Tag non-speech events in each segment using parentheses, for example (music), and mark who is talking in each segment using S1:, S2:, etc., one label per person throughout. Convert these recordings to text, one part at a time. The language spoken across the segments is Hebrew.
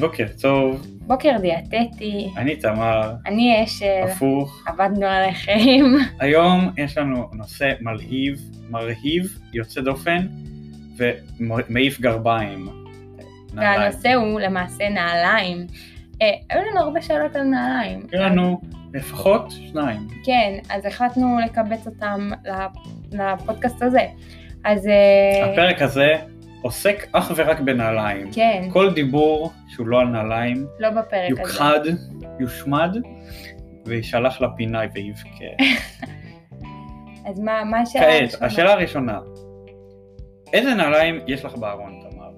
S1: בוקר טוב,
S2: בוקר דיאטטי,
S1: אני תמר,
S2: אני אשל,
S1: הפוך.
S2: עבדנו עליכם.
S1: היום יש לנו נושא מלהיב, מרהיב, יוצא דופן ומעיף
S2: אה,
S1: גרביים. (laughs) נעליים.
S2: והנושא הוא למעשה נעליים. אה, היו לנו הרבה שאלות על נעליים.
S1: יהיו לנו לפחות שניים.
S2: כן, אז החלטנו לקבץ אותם לפ- לפודקאסט הזה. אז... אה,
S1: הפרק הזה עוסק אך ורק בנעליים.
S2: כן,
S1: כל דיבור שהוא לא על נעליים
S2: לא בפרק הזה.
S1: יוכחד, יושמד ויישלח לפינה
S2: (laughs)
S1: ויבכה.
S2: אז מה מה השאלה?
S1: כעת,
S2: הראשונה?
S1: השאלה הראשונה, איזה נעליים יש לך בארון, תמר?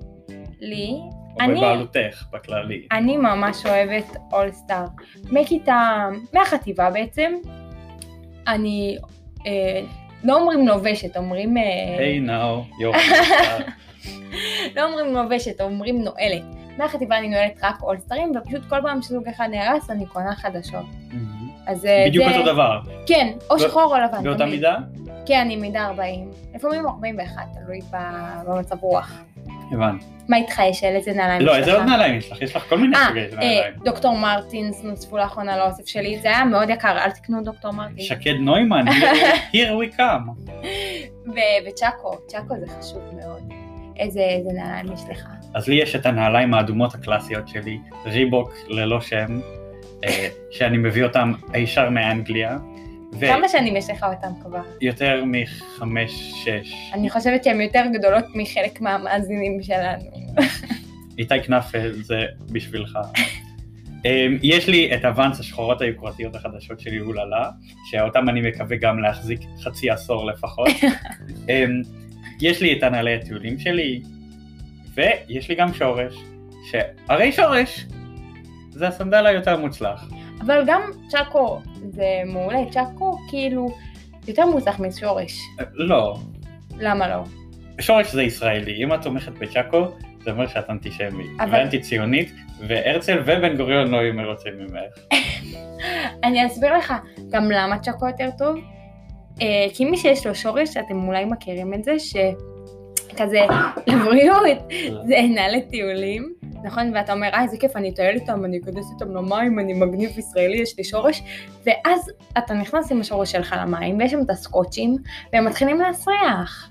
S2: לי,
S1: או
S2: אני-
S1: בבעלותך, בכללי.
S2: אני ממש אוהבת אולסטאר. מכיתה, מהחטיבה בעצם, אני, אה, לא אומרים לובשת, אומרים... אה,
S1: היי נאו,
S2: (laughs)
S1: יו.
S2: לא אומרים לובשת, אומרים נועלת. מהחטיבה אני נועלת רק אולסטרים, ופשוט כל פעם שזוג אחד נהרס אני קונה חדשות. אז אה,
S1: בדיוק
S2: זה...
S1: אותו דבר.
S2: כן, או
S1: בא-
S2: שחור או לבן.
S1: באותה
S2: תמיד.
S1: מידה?
S2: כן, אני מידה 40. לפעמים 41, תלוי ב- במצב רוח.
S1: הבנתי.
S2: מה איתך יש? על איזה נעליים
S1: לא,
S2: יש
S1: איזה
S2: לך?
S1: עוד נעליים יש לך? יש לך כל מיני סוגי
S2: אה, אה,
S1: נעליים.
S2: דוקטור מרטינס נוספו לאחרונה לאוסף שלי, זה היה מאוד יקר, אל תקנו דוקטור מרטינס.
S1: שקד נוימן,
S2: (laughs)
S1: here- here we come.
S2: ו- וצ'אקו, צ'אקו זה חשוב מאוד. איזה איזה נעליים יש לך?
S1: אז לי יש את הנעליים האדומות הקלאסיות שלי, ריבוק ללא שם, אה, שאני מביא אותם הישר מאנגליה,
S2: כמה שנים יש לך אותם כבר?
S1: ויותר מחמש, שש.
S2: אני חושבת שהן יותר גדולות מחלק מהמאזינים שלנו.
S1: איתי כנף, אה, זה בשבילך. (laughs) אה, יש לי את הוואנס השחורות היוקרתיות החדשות שלי, אוללה, שאותם אני מקווה גם להחזיק חצי עשור לפחות. אה, יש לי את הנעלי הטיולים שלי, ויש לי גם שורש, שהרי שורש זה הסנדל היותר מוצלח.
S2: אבל גם צ'אקו זה מעולה, צ'אקו כאילו יותר מוצלח משורש.
S1: אה, לא,
S2: למה לא?
S1: שורש זה ישראלי, אם את תומכת בצ'אקו, זה אומר שאת אנטישמית,
S2: אבל-
S1: ואנטי ציונית, והרצל ובן גוריון לא היו מרוצים ממך.
S2: אני אסביר לך גם למה צ'אקו יותר טוב. אה, כי מי שיש לו שורש, אתם אולי מכירים את זה, שכזה לבריאות, זה נעלי טיולים, נכון? ואתה אומר, אה, איזה כיף, אני אטייל איתם, אני אכנס איתם למים, אני מגניב ישראלי, יש לי שורש. ואז אתה נכנס עם השורש שלך למים, ויש שם את הסקוטשים, והם מתחילים להסריח.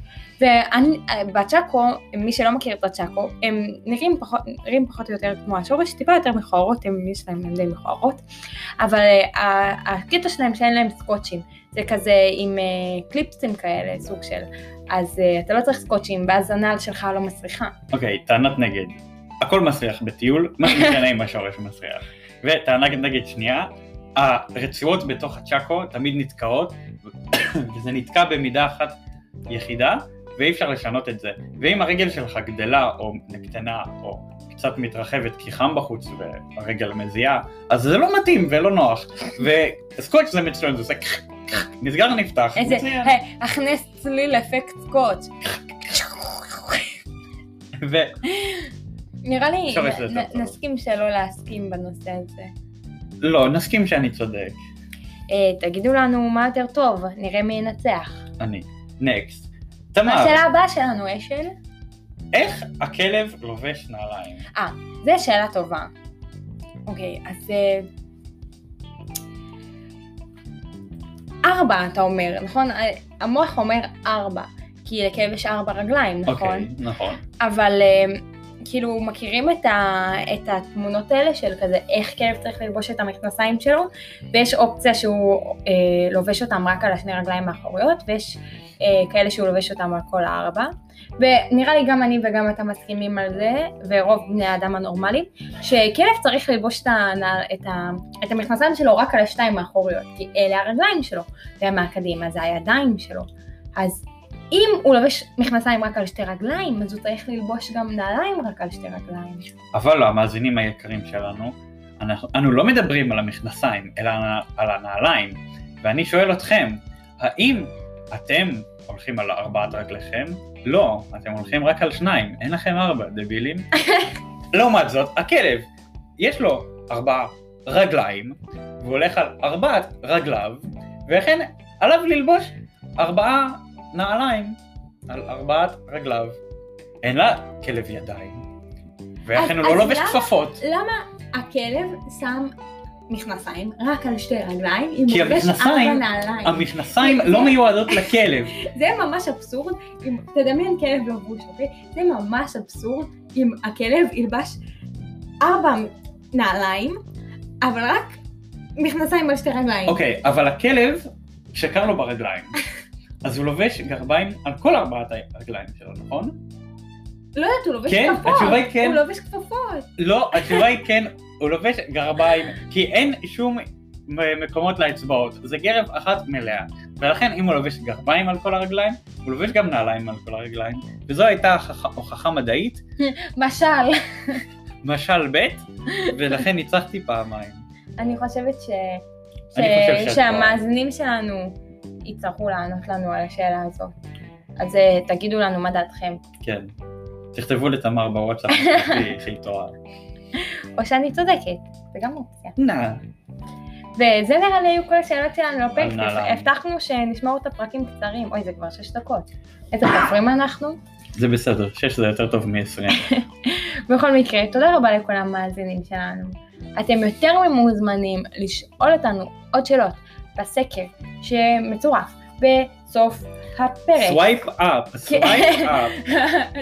S2: ובצ'אקו, מי שלא מכיר את הצ'אקו, הם נראים פחות, נראים פחות או יותר כמו השורש, טיפה יותר מכוערות, הם, יש להם הם די מכוערות, אבל אה, ה- הקטע שלהם שאין להם סקוטשים, זה כזה עם אה, קליפסים כאלה, סוג של, אז אה, אתה לא צריך סקוטשים, ואז הנעל שלך לא מסריחה.
S1: אוקיי, טענת נגד. הכל מסריח בטיול, מה שמשנה אם השורש מסריח. וטענה נגד שנייה, הרצועות בתוך הצ'אקו תמיד נתקעות, וזה נתקע במידה אחת יחידה, ואי אפשר לשנות את זה. ואם הרגל שלך גדלה או נקטנה או קצת מתרחבת כי חם בחוץ והרגל מזיעה, אז זה לא מתאים ולא נוח. וסקוץ' זה מצוין, זה עושה קח, קח, נסגר נפתח,
S2: איזה,
S1: מצוין.
S2: היי, הכנס צליל אפקט סקוטש.
S1: ולא,
S2: נראה לי,
S1: שורש זה
S2: נ-
S1: יותר טוב.
S2: נסכים שלא להסכים בנושא הזה.
S1: לא, נסכים שאני צודק.
S2: אה, תגידו לנו מה יותר טוב, נראה מי ינצח.
S1: אני. נקסט. תמר.
S2: השאלה הבאה שלנו, אשל,
S1: איך הכלב לובש נעליים?
S2: זה שאלה טובה. אוקיי, אז... אה, ארבע, אתה אומר, נכון? אה, המוח אומר ארבע, כי לכלב יש ארבע רגליים, נכון?
S1: אוקיי, נכון.
S2: אבל אה, כאילו מכירים את, ה, את התמונות האלה של כזה איך כלב צריך ללבוש את המכנסיים שלו ויש אופציה שהוא אה, לובש אותם רק על השני רגליים האחוריות ויש אה, כאלה שהוא לובש אותם על כל הארבע ונראה לי גם אני וגם אתה מסכימים על זה ורוב בני האדם הנורמליים שכלב צריך ללבוש את, הנעל, את, ה, את המכנסיים שלו רק על השתיים האחוריות כי אלה הרגליים שלו ומהקדימה זה הידיים שלו אז אם הוא לובש מכנסיים רק על שתי רגליים, אז הוא צריך ללבוש גם נעליים רק על שתי רגליים.
S1: אבל לא, המאזינים היקרים שלנו, אנחנו, אנו לא מדברים על המכנסיים, אלא על- על הנעליים. ואני שואל אתכם, האם אתם הולכים על ארבעת רגליכם? לא, אתם הולכים רק על שניים, אין לכם ארבע,
S2: (laughs)
S1: דבילים. לעומת זאת, הכלב, יש לו ארבע רגליים, והוא הולך על ארבעת רגליו, וכן עליו ללבוש ארבעה נעליים על ארבעת רגליו. אין לה כלב ידיים, ואכן הוא
S2: אז
S1: לא לובש
S2: למה-
S1: כפפות.
S2: למה הכלב שם מכנסיים רק על שתי רגליים, אם
S1: כי
S2: הוא לובש ארבע
S1: המכנסיים-
S2: נעליים?
S1: המכנסיים לא מיועדות לכלב.
S2: זה ממש אבסורד, אם תדמיין כלב לבוש, אוקיי? זה ממש אבסורד אם הכלב ילבש ארבע נעליים, אבל רק מכנסיים על שתי רגליים.
S1: אוקיי, אבל הכלב, שקר לו ברגליים. אז הוא לובש גרביים על כל ארבעת הרגליים שלו, נכון?
S2: לא יודעת, הוא לובש
S1: כן,
S2: כפפות.
S1: התשובה היא כן.
S2: הוא לובש כפפות.
S1: לא, התשובה היא כן, הוא לובש גרביים, כי אין שום מ- מקומות לאצבעות. זה גרב אחת מלאה. ולכן אם הוא לובש גרביים על כל הרגליים, הוא לובש גם נעליים על כל הרגליים. וזו הייתה הוכח- הוכחה מדעית,
S2: משל. (laughs)
S1: משל ב', ולכן ניצחתי פעמיים.
S2: אני חושבת ש...
S1: אני חושב שאת
S2: ש... שהמאזינים שלנו יצטרכו לענות לנו על השאלה הזאת. אז אה, תגידו לנו מה דעתכם.
S1: כן. תכתבו לתמר בוואטסאפ, שהיא טועה.
S2: או שאני צודקת, זה גם אופציה.
S1: נא.
S2: וזה נראה לי היו כל השאלות שלנו לפרק.
S1: נעליים.
S2: הבטחנו שנשמע אותה פרקים קצרים. אוי, זה כבר שש דקות. איזה כפרים אנחנו?
S1: זה בסדר, 6 זה יותר טוב מ-20.
S2: בכל מקרה, תודה רבה לכל המאזינים שלנו. אתם יותר ממוזמנים לשאול אותנו עוד שאלות בסקר שמצורף בסוף הפרק.
S1: סווייפ אפ,
S2: כן.
S1: סווייפ אפ.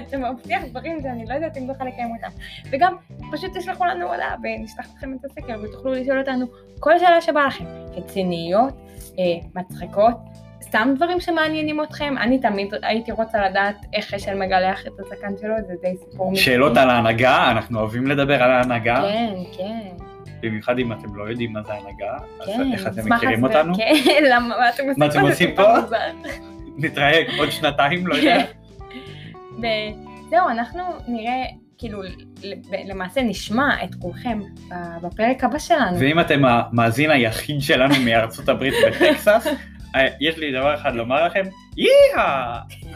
S2: אתה מבטיח דברים שאני לא יודעת אם בכלל לקיים אותם. וגם, פשוט תשלחו לנו הודעה ונשלח לכם את הסקר ותוכלו לשאול אותנו כל שאלה שבא לכם. רציניות, אה, מצחיקות, סתם דברים שמעניינים אתכם. אני תמיד הייתי רוצה לדעת איך אשל מגלח את הזקן שלו, זה די סיפור.
S1: שאלות אה? על
S2: מגניב.
S1: ההנהגה, אנחנו אוהבים לדבר על ההנהגה,
S2: כן, כן.
S1: במיוחד אם אתם לא יודעים מה זה הנהגה, אז
S2: כן,
S1: איך אתם
S2: נשמח
S1: מכירים
S2: הסבר.
S1: אותנו?
S2: כן, למה, מה אתם עושים
S1: מה אתם
S2: זה
S1: עושים
S2: טיפה
S1: פה?
S2: מוזר.
S1: נתראה עוד שנתיים, לא
S2: כן.
S1: יודע.
S2: (laughs) וזהו, אנחנו נראה, כאילו, ל- למעשה נשמע את כולכם ב- בפרק הבא שלנו.
S1: ואם אתם המאזין היחיד שלנו מארצות הברית בטקסס, אה, יש לי דבר אחד לומר לכם, יאה!